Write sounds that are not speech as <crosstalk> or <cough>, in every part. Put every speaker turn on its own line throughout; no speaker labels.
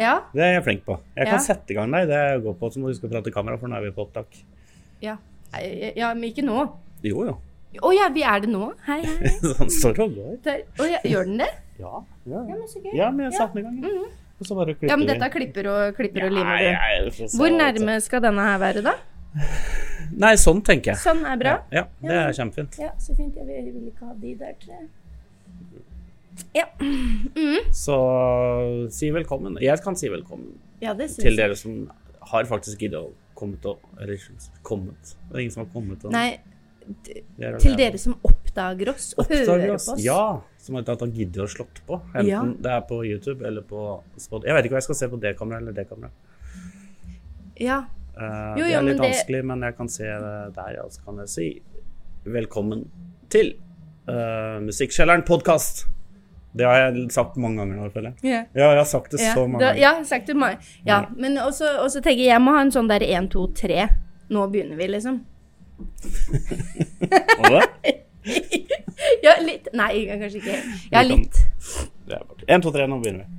Ja.
Det er jeg flink på. Jeg kan
Ja.
sette i gang deg. Det går på, så må du huske å prate i kamera, for nå er vi på opptak.
Ja, Nei, ja men ikke nå.
Jo, jo.
Å ja, vi er det nå? Hei, hei.
<laughs> Han står og går.
Der. Å ja, gjør den det?
Ja, ja,
Ja,
ja.
men så gøy.
ja men jeg satte den i gang. ja. Og så bare klipper
Ja, men dette er klipper og klipper og limer.
Nei,
du.
jeg får se
Hvor
hva det-
nærme skal denne her være, da?
Nei, sånn tenker jeg.
Sånn er bra.
Ja, det er kjempefint.
Ja, så fint. Jeg vil, ikke ha de der tre. Mhm.
Så si velkommen. Jeg kan si velkommen
Ja, det syns
til
jeg.
dere som har faktisk giddet å komme til å Eller kommet. Det er ingen som har kommet. og-
Nei,
Det er
til
det.
dere som oppdager oss og
Oppdager
hører
oss.
på oss.
Ja, som heter at han gidder å slått på. Enten
Ja.
det er på YouTube eller på Spot. Jeg vet ikke hva jeg skal se på det kameraet eller det kameraet.
Ja.
Eh,
Jo,
det
jo,
er
men
litt
det-
vanskelig, men jeg kan se det der, ja. Så kan jeg si velkommen til eh, Musikkkjelleren podkast. Det har jeg sagt mange ganger nå, føler jeg.
Ja.
Ja, jeg har sagt det
Ja,
så mange
da,
ganger.
ja, sagt til meg. Ja, men også, også tenker jeg, jeg må ha en sånn der 1, 2, 3. Nå begynner vi, liksom.
Må det?
Ja, litt. Nei, kanskje ikke. Ja,
Vi kan-
litt.
Det er bort. En, to, tre, nå begynner vi.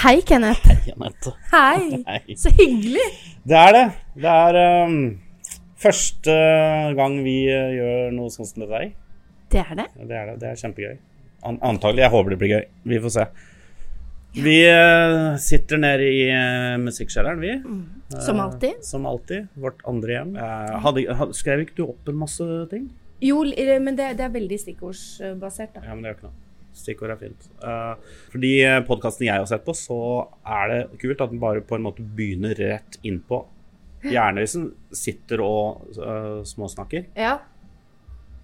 Hei,
<laughs>
Kenneth.
Hei, Anette.
Hei.
Hei.
Så hyggelig.
Det er det. Det er ehm, første gang vi eh, gjør noe sånt som dette her.
Det er det.
Det er det. Det er kjempegøy. An antagelig. Jeg håper det blir gøy. Vi får se. Vi eh, sitter nede i uh, musikkskjelleren, vi.
Som alltid.
Som alltid. Vårt andre hjem. Eh, hadde, had- skrev ikke du opp en masse ting?
Jo, l- eh, men det, det er veldig stikkordsbasert, da.
Ja, men det gjør ikke noe. Stikkord er fint. Eh, for de podkastene jeg har sett på, så er det kult at den bare på en måte begynner rett innpå. Gjerne hvis den sitter og eh, småsnakker.
Ja.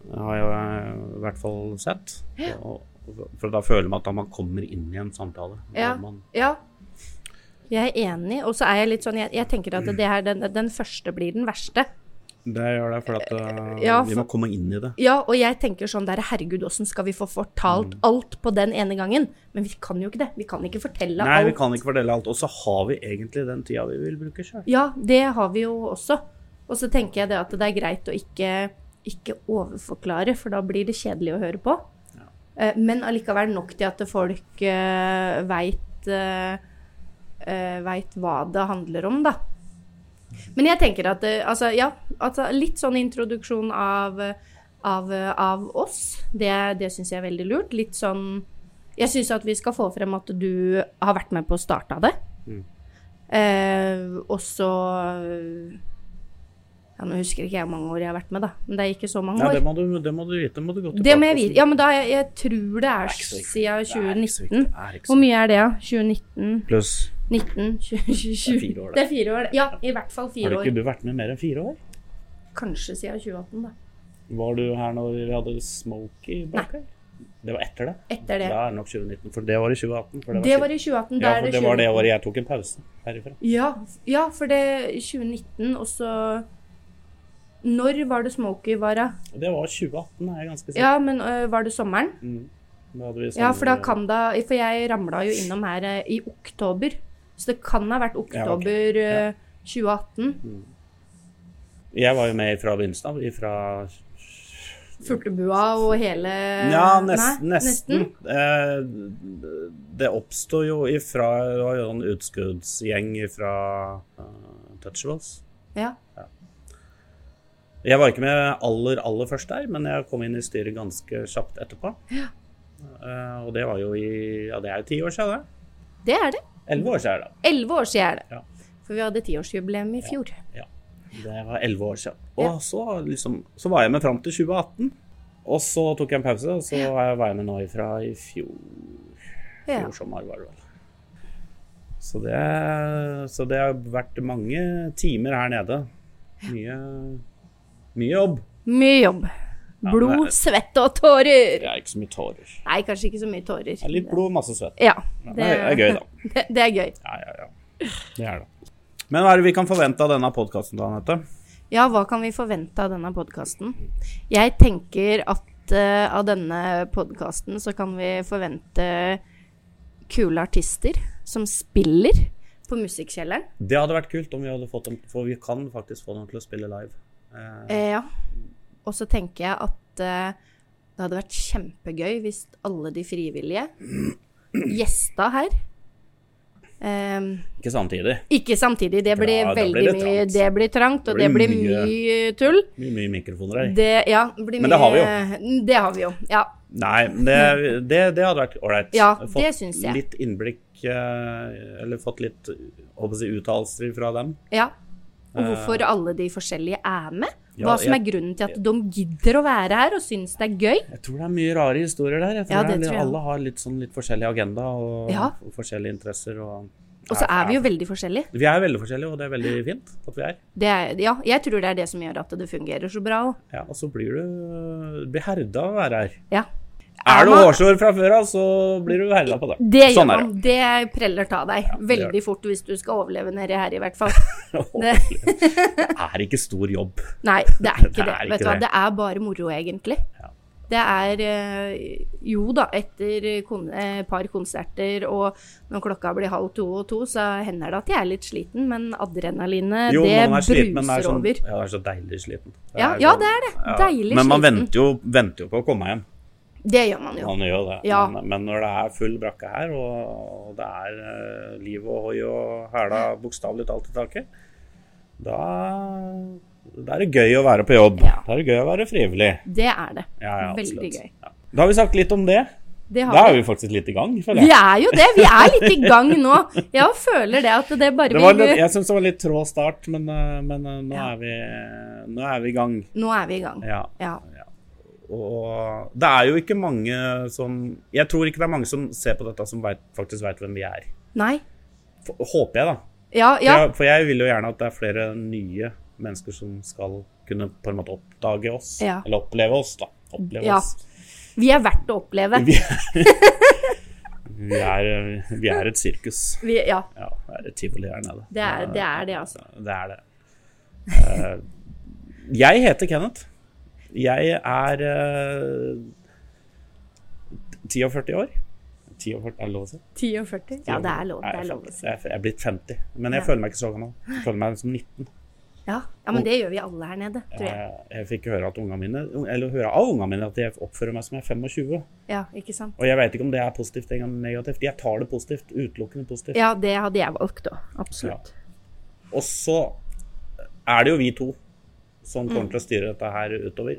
Det har jeg eh, i hvert fall sett. Og, for da føler man at da man kommer inn i en samtale. Da
Ja.
Man,
ja. Jeg er enig, og så er jeg litt sånn Jeg, jeg tenker at det her, den, den første blir den verste.
det gjør det, for at eh,
Ja,
vi må komme inn i det.
Ja, og jeg tenker sånn der Herregud, åssen skal vi få
Mm.
fortalt alt på den ene gangen? Men vi kan jo ikke det. Vi kan ikke fortelle
Nei,
alt.
vi kan ikke fordele alt. Og så har vi egentlig den tida vi vil bruke sjøl.
Ja, det har vi jo også. Og så tenker jeg det at det er greit å ikke, ikke overforklare, for da blir det kjedelig å høre på. Eh, Men allikevel nok til at folk uh, veit eh, hva det handler om, da. Men jeg tenker at eh, altså, ja, altså litt sånn introduksjon av, eh, av, eh, av oss, det, det syns jeg er veldig lurt. Litt sånn Jeg syns at vi skal få frem at du har vært med på å starte det. Eh, og så ja, Nå husker ikke jeg hvor mange år jeg har vært med, da. Men det er ikke så mange
Ja,
år.
det, må du- det må du vite. Det må du gå
Det,
tilbake
må jeg
på.
vite. Ja, men da jeg, jeg tror det er,
ikke så viktig.
siden
Det er ikke så viktig.
2019.
Det er ikke så
Hvor mye er det, da? 2019,
viktig. Pluss
19, 20, 20
Det er fire år, det.
Det er fire år, det. Ja, i hvert fall
Har
fire
du
år.
ikke du vært med mer enn fire år?
Kanskje siden 2018, da.
Var du her når vi hadde Smokey bak her? Det var etter det?
Etter
Da
det.
er det nok 2019, for det var i 2018. For
Det var i 2018. Da
ja,
er
for
det
det var det
2019.
året jeg tok en pause herifra.
Ja, ja, for det 2019, og så Når var det Smokie var, da?
Det var 2018, er jeg ganske sikker
Ja, men øh, var det sommeren?
Da hadde vi
Ja,
sånn-
for da kan da For jeg ramla jo innom her eh, i oktober. Så det kan ha vært
Ja, ok.
oktober eh, 2018.
Jeg var jo med fra begynnelsen av. Ifra
Furtebua og hele
Ja, nes-
Nei,
nesten. Eh, det oppsto jo ifra Det var jo en utskuddsgjeng ifra eh, Touchables.
Ja.
Jeg var ikke med aller, aller først der, men jeg kom inn i styret ganske kjapt etterpå. Eh, og det var jo i Ja, det er jo ti år siden, det.
Det er det.
Elleve år siden, da.
Elleve år siden er det.
Ja.
For vi hadde tiårsjubileum i fjor.
Det var 11 år siden. Og
Ja.
så, liksom, så var jeg med fram til 2018. Og så tok jeg en pause, og så var jeg- var jeg med nå ifra i fjor,
Ja.
fjor sommer, var det vel. Så det, så det har vært mange timer her nede. Mye, mye jobb.
Mye jobb.
men
Blod,
det-
svette og tårer.
Det er ikke så mye tårer.
Nei, kanskje ikke så mye tårer.
Det er litt blod, masse svett.
Ja.
Men det er gøy, da.
Det, det er gøy.
Ja, ja, ja. Det er det. Men hva er det vi kan forvente av denne podkasten, da, Anette?
Ja, hva kan vi forvente av denne podkasten? Jeg tenker at eh, av denne podkasten så kan vi forvente kule artister som spiller på Musikkkjelleren.
Det hadde vært kult om vi hadde fått dem, for vi kan faktisk få dem til å spille live. Eh,
Eh, ja. Og så tenker jeg at eh, det hadde vært kjempegøy hvis alle de frivillige gjesta her Ehm,
ikke samtidig.
Ikke samtidig, det
For
blir
da- da
veldig
blir det
mye
trangt.
Det blir trangt, og
Det
det
blir
blir
mye-
mye tull.
Mye, mye mikrofoner her.
Det, ja, det blir
Men det har vi jo.
mye- Det har vi jo. Ja.
Nei, men det, det, det hadde vært ålreit.
Ja,
Fått
det syns jeg.
Litt innblikk, eh, eller fått litt håper jeg å si, uttalelser fra dem.
ja. Og hvorfor alle de forskjellige er med.
Eh. Ja,
Hva som er
jeg-
grunnen til at de gidder å være her og syns det er gøy.
Jeg tror det er mye rare historier der. Jeg tror
Ja,
det er
det
litt-
tror jeg
Alle har litt, sånn, litt forskjellig agenda og,
Ja.
og forskjellige interesser. Og,
Og så er vi jo veldig forskjellige.
Vi er veldig forskjellige, og det er veldig fint at vi er.
Det er, ja, jeg tror det er det som gjør at det fungerer så bra òg.
Ja, og så blir du blir herda av å være her.
Ja.
Er du
man-
hårsår fra før av, så blir du herda på det.
Det gjør
sånn
man. Det preller av deg
gjør
veldig
det.
fort hvis du skal overleve nedi her, i hvert fall.
det. <laughs>
Det,
Det er ikke stor jobb.
nei, det er
Det <laughs>
ikke
er
det.
ikke
Vet du hva,
det.
det er bare moro, egentlig.
Ja.
Det er eh, Jo da, etter kon eh, par konserter og når klokka blir halv to og to, så hender det at jeg er litt sliten, men adrenalinet,
Jo,
det
men man er sliten, men det
bruser
er sånn,
over.
ja, det er så deilig sliten.
Ja,
er
ja,
sånn-
det er det.
ja.
Deilig
Men man
sliten.
venter jo, venter jo på å komme hjem.
Det gjør man jo.
Man gjør jo det.
Ja.
Men, men når det er full brakke her, og det er eh, liv og hoi og hæla bokstavelig talt i taket, da, da er det gøy å være på jobb.
Ja.
Da er det gøy å være frivillig.
Det er det.
Ja, ja,
Veldig
absolutt.
gøy.
Ja. Da har vi sagt litt om det.
Det har
Da
vi.
er vi faktisk litt i gang, føler
Vi
jeg.
er jo det. Vi er litt i gang nå. Jeg føler det at det bare
Det var
vil
litt, jeg syns det var litt trå start, men, eh, men eh, nå,
Ja.
er vi, nå er vi i gang.
Nå er vi i gang.
Ja.
Ja.
Og det er jo ikke mange som Jeg tror ikke det er mange som ser på dette som vet, faktisk veit hvem vi er.
Nei.
F- Håper jeg, da.
Ja,
For,
ja.
jeg, for jeg vil jo gjerne at det er flere nye mennesker som skal kunne på en måte oppdage oss.
Ja.
Eller oppleve oss, da. Oppleve
Ja.
oss.
Vi er verdt å oppleve.
Vi er, vi er, vi er et sirkus.
Vi, ja.
Ja, det er et tivoli her nede.
Det er det, er det altså.
Det er det. Eh, jeg heter Kenneth. Jeg er eh, 10 og 40 år. 10 og 40, er det lov å si?
10 og 40. Ja, det er lov, det er lov å si.
Jeg er- jeg er blitt 50, men jeg
Ja.
føler meg ikke så gammel. Jeg føler meg som 19.
Ja. ja, men det gjør vi alle her nede, tror jeg.
Jeg, Eh, jeg fikk høre, at unga mine, eller høre av ungene mine at jeg oppfører meg som jeg er 25.
Ja, ikke sant?
Og jeg vet ikke om det er positivt eller negativt. Jeg tar det positivt. Utelukkende positivt.
Ja, det hadde jeg valgt òg. Absolutt.
Og så er det jo vi to som
Mm.
kommer til å styre dette her utover.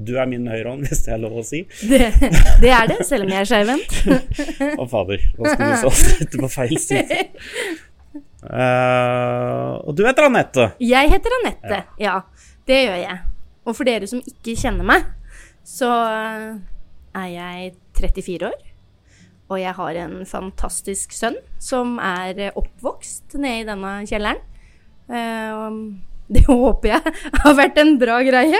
Du er min høyrehånd, <laughs> hvis det er lov
<laughs>
å si.
Det, det er det, selv om jeg er skeivhendt.
Å, fader. Nå skulle vi så sitte på feil
<laughs>
side. Eh, og du heter Anette.
Jeg heter Anette. Ja, det gjør jeg. Og for dere som ikke kjenner meg, så eh, er jeg 34 år. Og jeg har en fantastisk sønn som er eh, oppvokst nede i denne kjelleren. Eh, og Det <laughs> håper jeg har vært en bra greie.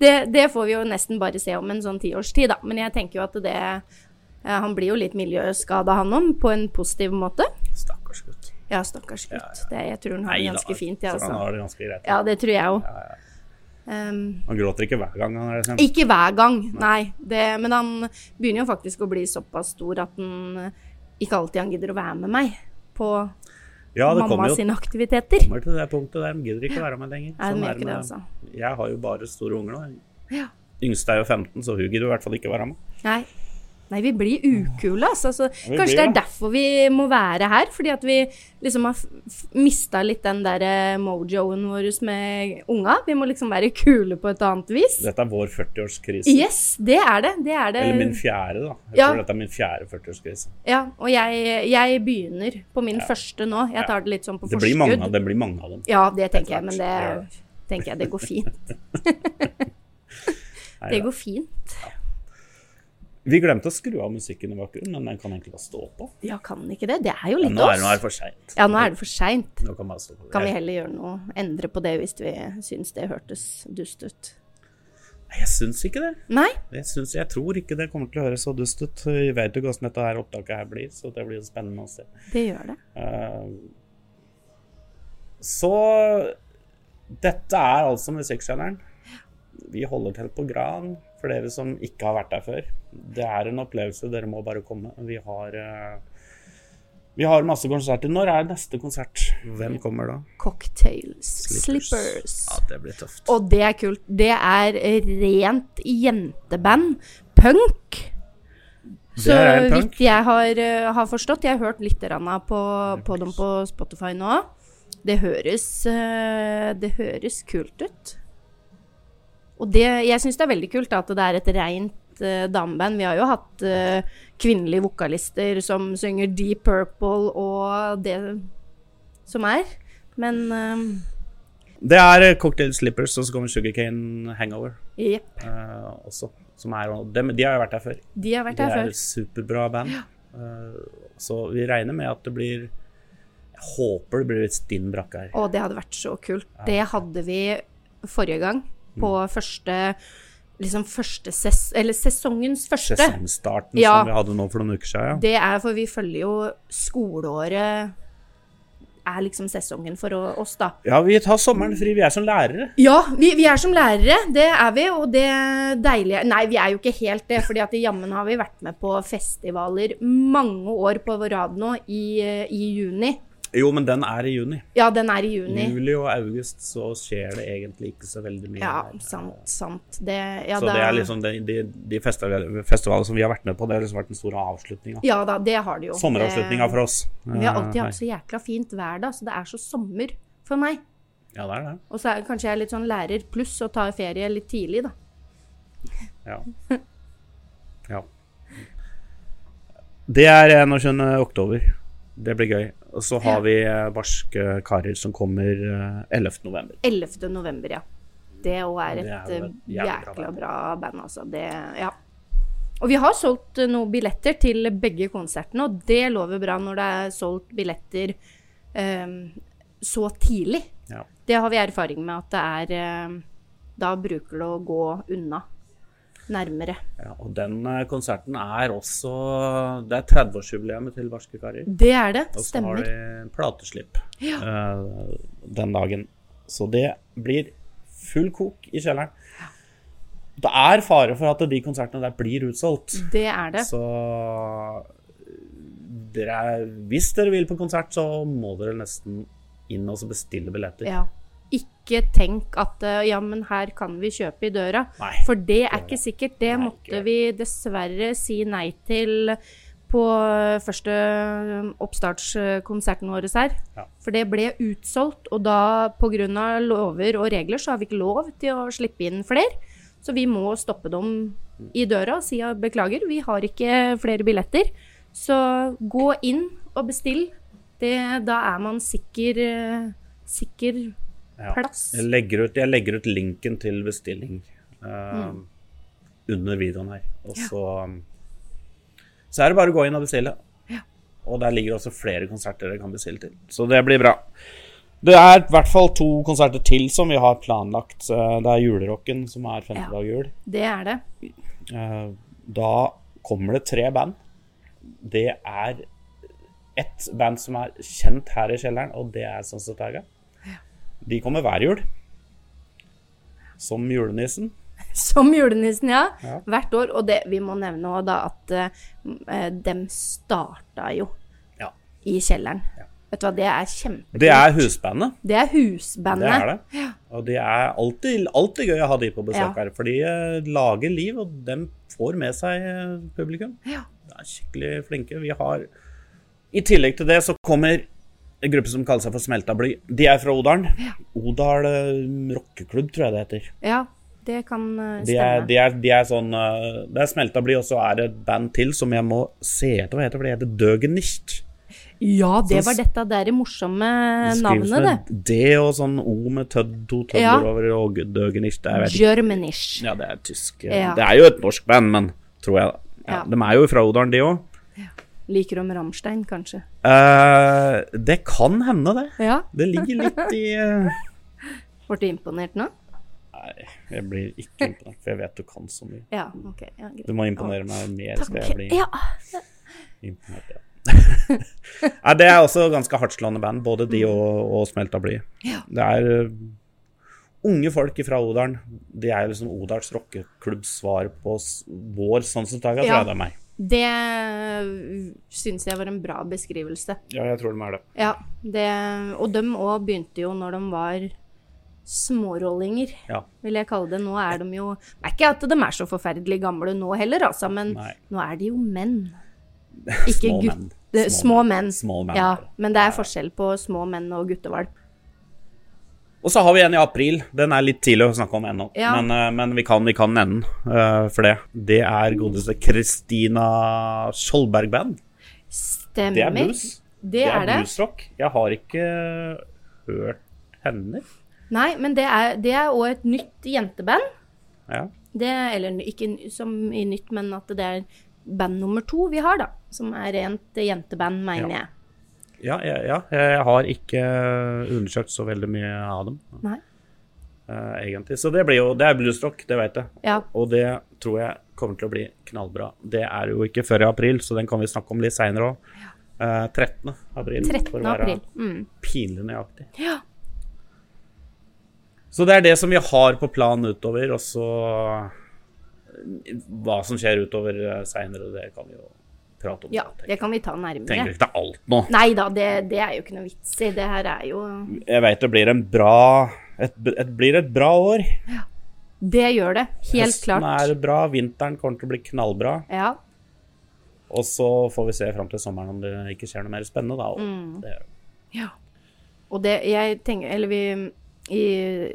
Det, det får vi jo nesten bare se om en sånn tiårstid, da. Men jeg tenker jo at det eh, Han blir jo litt miljøskada, han om, på en positiv måte.
Stakkars gutt.
Ja, stakkars gutt. Det, jeg tror han har det ganske fint, jeg,
ja,
altså.
Han Sånn har det ganske greit.
Ja, det tror jeg òg.
Ja, ja.
Um,
Han gråter ikke hver gang han er liksom- sent.
ikke hver gang, nei. Det, men han begynner jo faktisk å bli såpass stor at han eh, ikke alltid han gidder å være med meg på
Ja, det
mamma
kommer jo
sine aktiviteter.
kommer til det punktet der. De gidder ikke å være med lenger. Sånn
Nei, de gjør ikke det,
med-
altså.
Jeg har jo bare store unger nå.
Ja.
Yngste er jo 15, så hun gidder i hvert fall ikke å være med.
Nei. nei, vi blir ukule, altså. Så, kanskje
Vi blir
det er
det.
derfor vi må være her. Fordi at vi liksom har mista litt den der eh, mojoen vår med unga. Vi må liksom være kule på et annet vis.
Dette er vår 40-årskrise.
Yes, det er det. Det er det.
Eller min fjerde, da. Jeg
Ja.
tror dette er min fjerde 40-årskrise.
Ja, og jeg, jeg begynner på min første nå. Jeg tar det litt sånn på
Det
forskudd.
blir mange av det blir mange av dem.
Ja, det tenker jeg, men
Etter hvert. Ja,
det tenker jeg det går
<laughs>
fint.
Nei,
Det
da.
går fint.
Vi glemte å skru av musikken i bakgrunnen, men den kan egentlig bare stå på.
Ja, kan ikke det? Det er jo
Ja,
litt
nå er
oss.
den her for seint.
Ja, nå er det for seint.
Nå kan man stå på.
Kan vi
Jeg,
heller gjøre noe, endre på det hvis vi syns det hørtes dust ut.
jeg syns ikke det.
Nei?
Jeg, syns, jeg tror ikke det kommer til å høres så dust ut. Vi vet jo ikke hvordan dette her opptaket her blir, så det blir jo spennende å se.
Det gjør det.
Eh, Så dette er altså Musikksjangeren. Vi holder til på Gran for dere som ikke har vært der før. Det er en opplevelse, dere må bare komme. Vi har eh, Vi har masse konserter. Når er neste konsert? Hvem kommer da?
Cocktails. Slippers.
Ja, det blir tøft.
Og det er kult. Det er rent jenteband. Punk. Så
Det er punk.
vidt jeg har, eh, har forstått Jeg har hørt litt grann av på, på dem på Spotify nå. Det høres, eh, det høres kult ut. Og det, jeg syns det er veldig kult at det er et rent eh, dameband. Vi har jo hatt eh, kvinnelige vokalister som synger Deep Purple og det som er. Men eh,
Det er eh, Cocktail Slippers, og så kommer Sugarcane Hangover
eh, jepp.
eh, også. Som er, og dem- de har jo vært her før.
De har vært
Det
her
er
før.
et superbra band. Eh, så vi regner med at det blir Jeg håper det blir litt stinn brakke her.
Å, det hadde vært så kult. Det hadde vi forrige gang.
Mm.
På første Liksom første ses... Eller sesongens første.
Sesongstarten
Ja.
som vi hadde nå for noen uker siden. Ja.
Det er for vi følger jo skoleåret Er liksom sesongen for å- oss, da.
ja, vi tar sommeren fri. Vi er som lærere.
Ja, vi, vi er som lærere, det er vi, og det deilige Nei, vi er jo ikke helt det, fordi at jammen har vi vært med på festivaler mange år på vår rad nå, i, eh, i juni.
Jo, men den er i juni.
Ja, den er i juni.
Juli og august så skjer det egentlig ikke så veldig mye.
Ja,
her.
sant, sant. Det, ja,
Så det
da-
er liksom de, de, de festival- festivaler som vi har vært med på, det har liksom vært den store avslutninga.
Ja da, det har det jo.
Sommeravslutninga for oss. Eh,
Det- Vi har alltid hatt så jækla fint vær da, så det er så sommer for meg.
Ja, det er det.
Og så er kanskje jeg er litt sånn lærer pluss og tar ferie litt tidlig, da.
Ja.
<laughs>
ja. Det er 21. oktober. Det blir gøy. Og så har vi eh, barske karer som kommer eh, 11. november.
11. november, ja. Det òg er
Det
et
er jo et
eh,
jævlig bra
jækla
band.
bra band, altså. Det, ja. Og vi har solgt eh, noen billetter til begge konsertene, og det lover bra når det er solgt billetter eh, så tidlig.
Ja.
Det har vi erfaring med at det er eh, Da bruker det å gå unna nærmere.
Ja, og den eh, konserten er også Det er 30-årsjubileet til Barske karer.
Det er det.
Og så
Stemmer.
har de plateslipp eh, den dagen. Så det blir full kok i kjelleren. Det er fare for at de konsertene der blir utsolgt.
Det er det.
Så eh, dere, er- hvis dere vil på konsert, så må dere nesten inn og så bestille billetter.
Ja. Ikke tenk at eh, ja, men her kan vi kjøpe i døra.
Nei.
For det er ikke sikkert. Det
Nei,
måtte
ikke.
vi dessverre si nei til på eh, første um, oppstartskonserten vår her.
Ja.
For det ble utsolgt, og da pga. lover og regler så har vi ikke lov til å slippe inn flere. Så vi må stoppe dem i døra og si ja, beklager, vi har ikke flere billetter. Så gå inn og bestill. Det, da er man sikker, eh, sikker
Ja.
plass.
Jeg legger ut, jeg legger ut linken til bestilling eh, under videoen her. Og så, um, så er det bare å gå inn og bestille. Og der ligger også flere konserter dere kan bestille til. Så det blir bra. Det er i hvert fall to konserter til som vi har planlagt. Eh, Det er Julerocken, som er
Ja.
50 av jul.
Det er det.
Eh, Da kommer det tre band. Det er ett band som er kjent her i kjelleren, og det er Sansetega. De kommer hver jul. Som julenissen.
<laughs> Som julenissen, ja.
Ja.
Hvert år. Og det, vi må nevne også da at eh, dem starta jo
Ja.
i kjelleren. Vet du hva, det er kjempe...
Det er husbandet.
Det er
Det
husbandet.
er det. Og det er alltid, alltid gøy å ha de på besøk
Ja.
her, for de eh, lager liv, og de får med seg eh, publikum.
Ja.
De er skikkelig flinke. Vi har I tillegg til det så kommer en gruppe som kaller seg for Smelta bly. De er fra Odalen. Odal eh, rockeklubb, tror jeg det heter.
ja, det kan eh,
De er,
stemme.
de er, de er sånn eh, Det er Smelta bly, og så er det et band til som jeg må se etter hva heter, for det heter Døgenicht.
ja, det
Så
var dette der morsomme
Det skrives
navnet, det.
med D og sånn O med tødd, to tødder
Ja.
over og Døgenicht. Jeg vet ikke
Germanish.
Ja, det er tysk. eh,
Ja.
Det er jo et norsk band, men tror jeg. da. Ja,
Ja.
De er jo fra Odalen, de òg.
Liker om Rammstein, kanskje.
Eh, det kan hende, det.
Ja,
Det ligger litt i eh,
Ble du imponert nå?
Nei, jeg blir ikke imponert, for jeg vet du kan så mye.
Ja, ok. Ja, greit.
Du må imponere meg mer, skal jeg
Takk.
bli
Ja.
imponert. Ja. <laughs> Nei, det er også ganske hardtslående band, både de og, og Smelta bly.
Mm. Ja.
Det er eh, unge folk fra Odalen. De er liksom Odals rockeklubbs svar på s- vår Sansetega, tror
Ja.
jeg det er meg.
Det syns jeg var en bra beskrivelse.
Ja, jeg tror de er det.
Ja, det, og dem òg begynte jo når de var smårollinger,
Ja.
vil jeg kalle det. Nå er de jo Det er ikke at de er så forferdelig gamle nå heller, altså, men
Nei.
nå er de jo menn. Ikke
<laughs> Små
gutt-
menn.
Det, små menn.
Små menn.
Ja, men det er forskjell på små menn og guttevalp.
Og så har vi en i april. Den er litt tidlig å snakke om ennå,
Ja.
men, eh, men vi kan, vi kan nevne den eh, for det. Det er godeste Kristina Skjoldberg Band.
Stemmer.
Det er blues.
Det er det.
bluesrock. Jeg har ikke hørt henne.
Nei, men det er det er òg et nytt jenteband.
Ja.
Det, eller ikke n- som i nytt, men at det er band nummer to vi har, da. Som er rent eh, jenteband, mener
Ja.
jeg.
Ja, ja, ja, jeg har ikke undersøkt så veldig mye av dem,
Nei.
eh, egentlig. Så det blir jo Det er bluesrock, det vet jeg.
Ja.
Og det tror jeg kommer til å bli knallbra. Det er jo ikke før i april, så den kan vi snakke om litt seinere òg. 13. april.
13.
for å være
april. Mm.
Pinlig nøyaktig.
Ja.
Så det er det som vi har på planen utover, og så eh, Hva som skjer utover seinere, det kan vi jo prate om.
ja,
tenker jeg.
det kan vi ta nærmere.
Trenger ikke alt nå.
Nei da, det, det er jo ikke noe vits i. Det her er jo
Jeg veit det blir en bra et, et, blir et bra år.
Det gjør det, helt
Høsten
klart.
er bra, vinteren kommer til å bli knallbra.
Ja.
Og så får vi se fram til sommeren om det ikke skjer noe mer spennende, da. Og
Mm.
det,
ja. Og det jeg tenker Eller vi I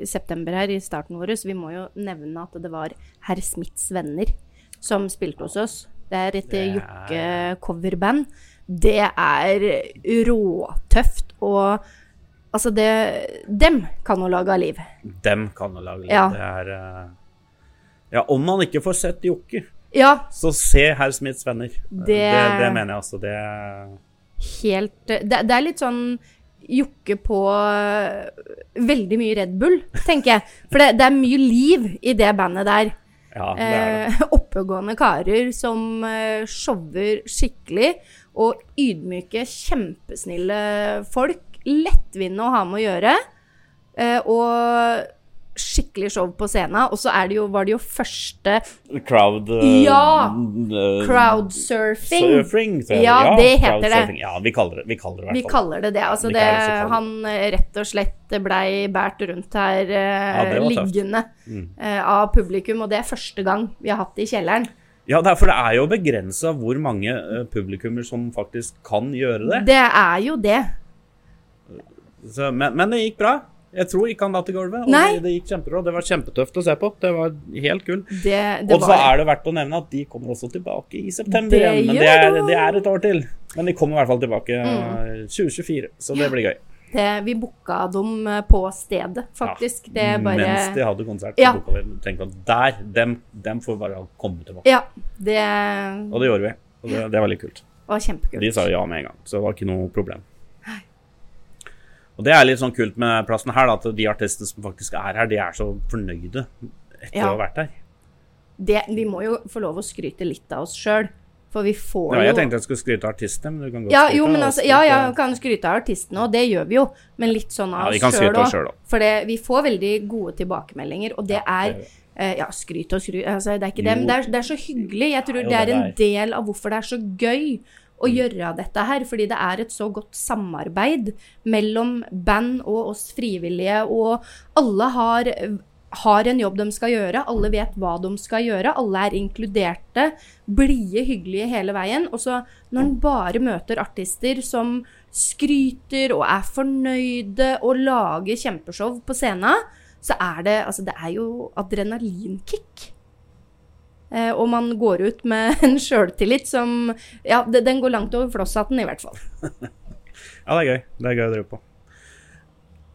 september her, i starten vår, så vi må jo nevne at det var Herr Smiths venner som spilte hos oss. Det er et
Det er-
jokke-coverband. Det er råtøft og Altså, det Dem kan jo lage av liv.
dem kan jo lage litt.
Ja.
Det er eh, Ja, om man ikke får sett Jokke,
Ja,
så se Herr Smiths venner. Det, det, mener jeg altså. Det
helt det, det er litt sånn jokke på øh, veldig mye Red Bull, tenker jeg. For det, det er mye liv i det bandet der.
Ja, det er det.
Eh, oppegående karer som eh, shower skikkelig. Og ydmyke, kjempesnille folk. Lettvinte å ha med å gjøre. Eh, og skikkelig show på scenen. Og så er det jo, var det jo første
Crowd
Eh,
eh,
Ja!
Crowdsurfing.
crowdsurfing.
så-
Ja, det heter det.
crowdsurfing. Ja, vi kaller det vi kaller det, i hvert
Vi
fall.
kaller det det. Altså
Vi
det,
kaller det så kaller det.
han eh, rett og slett blei båret rundt her eh,
Ja, det var tøft. Mm.
liggende eh, av publikum, og det er første gang vi har hatt det i kjelleren.
Ja, det er, for det er jo begrensa hvor mange eh, publikummer som faktisk kan gjøre det.
Det er jo det.
Så, men, men det gikk bra. Jeg tror ikke han datt i gulvet. Og
Nei.
det, det gikk kjempebra. Det var kjempetøft å se på. Det var helt kul.
Det, det
Og så
var
er det verdt å nevne at de kommer også tilbake i
Det
september igjen. Men
gjør
det er,
de. Mm.
det er et år til. Men de kommer i hvert fall tilbake eh, 2024, så det blir gøy.
det. Vi booka dem eh, på stedet, faktisk. Det er bare
Mens de hadde konsert,
Ja.
så booka vi den. tenkte at der, dem, dem får bare komme tilbake.
Ja. Det
Og det gjorde vi. Og det, det var litt kult.
var kjempekult.
De sa ja med en gang, så det var ikke noe problem. Og det er litt sånn kult med plassen her, da, at de artistene som faktisk er her, de er så fornøyde etter
Ja.
å ha vært her.
Det, vi må jo få lov å skryte litt av oss sjøl, for vi får
Ja,
jo
jeg tenkte jeg skulle skryte av artistene, men du kan godt
Ja,
skryte
jo,
av
men
oss
altså, ja, ja,
litt, eh.
kan skryte av artistene òg, det gjør vi jo. Men litt sånn
Ja,
av
vi
oss
kan skryte
sjøl
av oss
òg.
selv også.
For det, vi får veldig gode tilbakemeldinger, og det
det
er
gjør vi.
eh, Ja, skryt og skryt altså, Det er ikke det,
Jo.
men det er, det er så hyggelig. Jeg tror
jo
det
det Mm.
er en
det
del av hvorfor det er så gøy å gjøre dette her. Fordi det er et så godt samarbeid mellom band og oss frivillige, og alle har har en jobb de skal gjøre, alle vet hva de skal gjøre, alle er inkluderte, blide, hyggelige hele veien. Og så når en bare møter artister som skryter og er fornøyde og lager kjempeshow på scenen, så er det Altså, det er jo adrenalinkick. Eh, og man går ut med <laughs> en sjøltillit som Ja, det, den går langt over flosshatten, i hvert fall.
Ja, det er gøy. Det er gøy å drive på.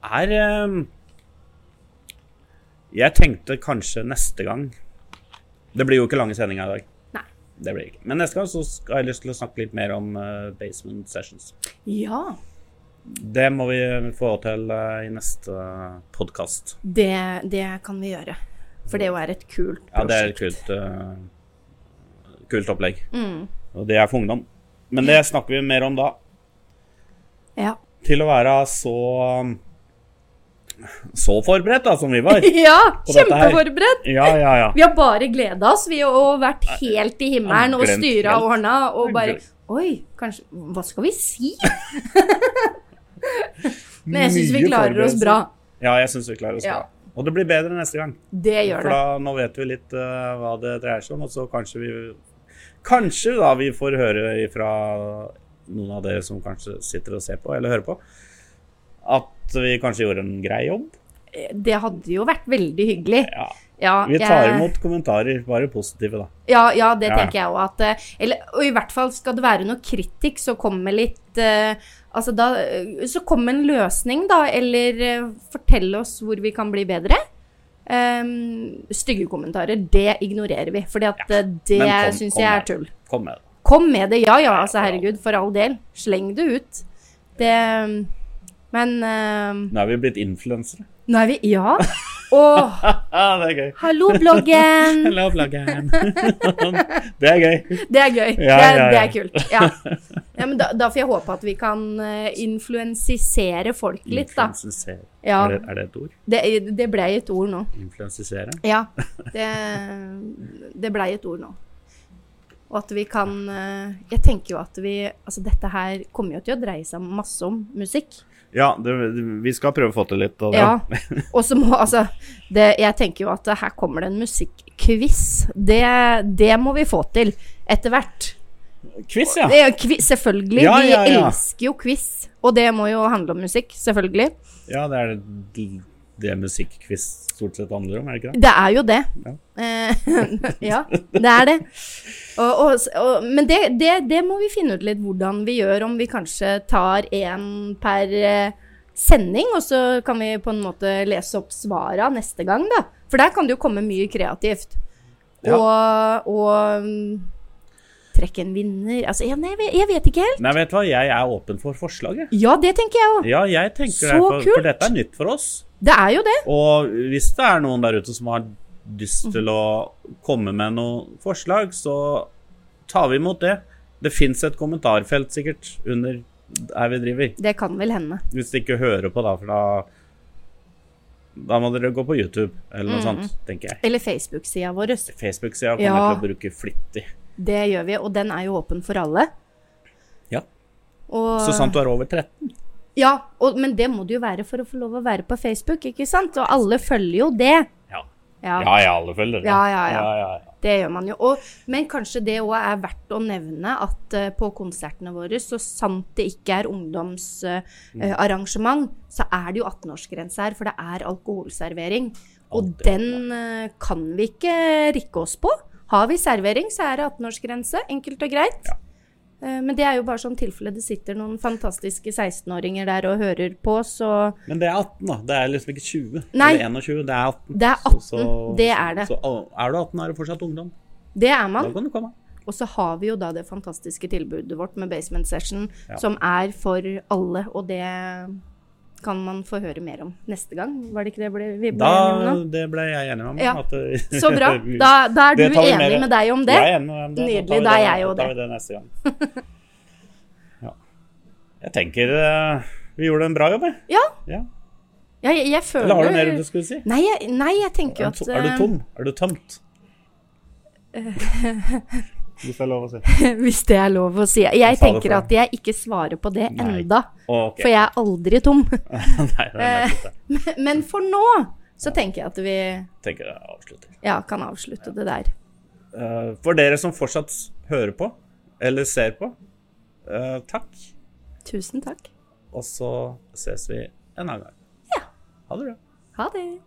Er ehm, Jeg tenkte kanskje neste gang Det blir jo ikke lange sendinger i dag.
Nei.
Det blir det ikke. Men neste gang så skal- har jeg lyst til å snakke litt mer om eh, Basement Sessions.
Ja.
Det må vi få til eh, i neste podkast.
Det, det kan vi gjøre. For det jo er et kult prosjekt.
Ja, det er et kult, eh, kult opplegg. Og det er for ungdom. Men det snakker vi mer om da.
Ja.
Til å være så så forberedt da, som vi
<laughs>
var.
<laughs> Ja,
Og dette her-
kjempeforberedt.
Ja, ja, ja.
Vi har bare gleda oss. Vi har og vært helt i himmelen og
glemt
styra
helt.
og ordna og
Jeg
bare
glemt.
Oi, kanskje Hva skal vi
<laughs>
si? Men jeg syns vi
Mye
klarer oss
forberedelser.
bra.
Ja, jeg syns vi klarer oss
Ja.
bra. Og det blir bedre neste gang.
Det gjør
For
det.
da, nå vet vi litt eh, hva det dreier seg om, og så kanskje vi Kanskje da vi får høre fra noen av dere som kanskje sitter og ser på, eller hører på, at vi kanskje gjorde en grei jobb.
Det hadde jo vært veldig hyggelig.
Ja.
Ja,
Vi tar
jeg-
imot kommentarer, bare positive, da.
Ja, ja det
Ja, ja.
tenker jeg òg. at, eh, Eller og i hvert fall skal det være noe kritikk, så kom med litt eh, Altså da eh, Så kom med en løsning, da, eller eh, fortell oss hvor vi kan bli bedre. Ehm, stygge kommentarer, det ignorerer vi. For
men
det
kom-
syns
kom
jeg er
med det.
tull.
Kom med det.
Kom med det. Ja ja, altså
Ja, ja.
herregud, for all del. Sleng det ut. Det Men eh,
Nå er vi blitt influensere. <laughs>
Nå er vi Ja. Åh,
Ah, det er gøy.
hallo, bloggen!
Hello, bloggeren. <laughs> det er gøy.
Det er gøy.
Ja,
det, er,
ja, ja.
det er kult.
<laughs>
Ja. Ja, men da, da får jeg håpe at vi kan eh, influensisere folk litt, da.
Influensisere.
Ja,
Er, det, er det et ord?
det, det blei et ord nå.
Influensisere?
Ja, det, det blei et ord nå. Og at vi kan eh, Jeg tenker jo at vi Altså, dette her kommer jo til å dreie seg masse om musikk.
Ja, det, vi skal prøve å få til litt av det.
Ja. Og så må altså det, Jeg tenker jo at her kommer det en musikkquiz. Det, det må vi få til etter hvert.
Quiz, ja.
Det er jo quiz, selvfølgelig.
Ja, ja,
Vi
ja.
elsker jo quiz. Og det må jo handle om musikk, selvfølgelig.
Ja, det er det, det musikkquiz stort sett handler om, er det ikke det?
Det er jo det.
Ja.
Eh, <laughs> ja, det er det. Og, og, og, men det, det, det må vi finne ut litt hvordan vi gjør, om vi kanskje tar én per eh, sending, og så kan vi på en måte lese opp svara neste gang, da. For der kan det jo komme mye kreativt.
Ja.
Og, og mm, trekke en vinner Altså, ja, nei, jeg vet- jeg vet ikke helt.
Nei, vet du hva, jeg er åpen for forslag, jeg.
Ja, det tenker jeg òg.
Ja, jeg tenker
Så
det, for,
kult.
for dette er nytt for oss.
Det er jo det.
Og hvis det er noen der ute som har lyst til å komme med noen forslag, så tar vi imot det. Det fins et kommentarfelt sikkert under her vi driver.
Det kan vel hende.
Hvis de ikke hører på, da, for da Da må dere gå på YouTube eller noe sånt, tenker jeg.
Eller Facebook-sida vår.
Facebook-sida kommer
Ja.
til å bruke flittig.
Det gjør vi, og den er jo åpen for alle.
Ja.
Og,
Så sant du er over 13.
Ja, og, men det må det jo være for å få lov å være på Facebook, ikke sant? Og alle følger jo det.
Ja.
Ja,
Ja, ja, alle følger det.
Ja, ja, ja.
ja, ja, ja.
det gjør man jo. Og, men kanskje det òg er verdt å nevne at eh, på konsertene våre, så sant det ikke er ungdomsarrangement, så er det jo 18-årsgrense her, for det er alkoholservering. Og
Alltid,
den eh, kan vi ikke rikke oss på. Har vi servering, så er det 18-årsgrense. Enkelt og greit. Eh, Men det er jo bare sånn tilfelle det sitter noen fantastiske 16-åringer der og hører på, så
Men det er 18, da. Det er liksom ikke 20
Nei.
eller 21. Det er 18.
Det er 18, det er det.
Så, å, er du 18, er du fortsatt ungdom.
det er
Da
man.
kan du komme.
Og så har vi jo da det fantastiske tilbudet vårt med Basement Session,
Ja.
som er for alle, og det kan man få høre mer om neste gang. Var det ikke det ble, vi ble enige
Da, <laughs>
om nå?
det ble jeg enig med meg.
Ja.
At, det- <laughs>
Så bra. Da, da er du
Det tar vi
enig
med.
med deg om det.
Jeg er enig med deg om det.
Nydelig,
tar vi
da er
det-
jeg jo
Da tar vi det neste
<laughs>
gang. Ja. Jeg tenker eh, vi gjorde en bra jobb, jeg.
Ja,
Ja.
ja jeg, jeg føler
Eller har du mer du skulle si?
Nei, jeg, nei, jeg tenker jo
Er
at
du, to- er du
eh,
tom? Er du tømt? Hvis det er lov å si.
<laughs> Hvis det er lov å si. Jeg
Jeg sa det
tenker
for
at jeg ikke svarer på det
Nei.
enda,
Ok.
for jeg er aldri tom.
<laughs>
<laughs>
Nei, det er nettopp det.
Men for nå så tenker jeg at vi
Tenker jeg avslutter.
ja, kan avslutte det der.
Eh, for dere som fortsatt hører på, eller ser på, eh, takk.
Tusen takk.
Og så ses vi en annen gang.
Ja.
Ha det bra.
Ha det.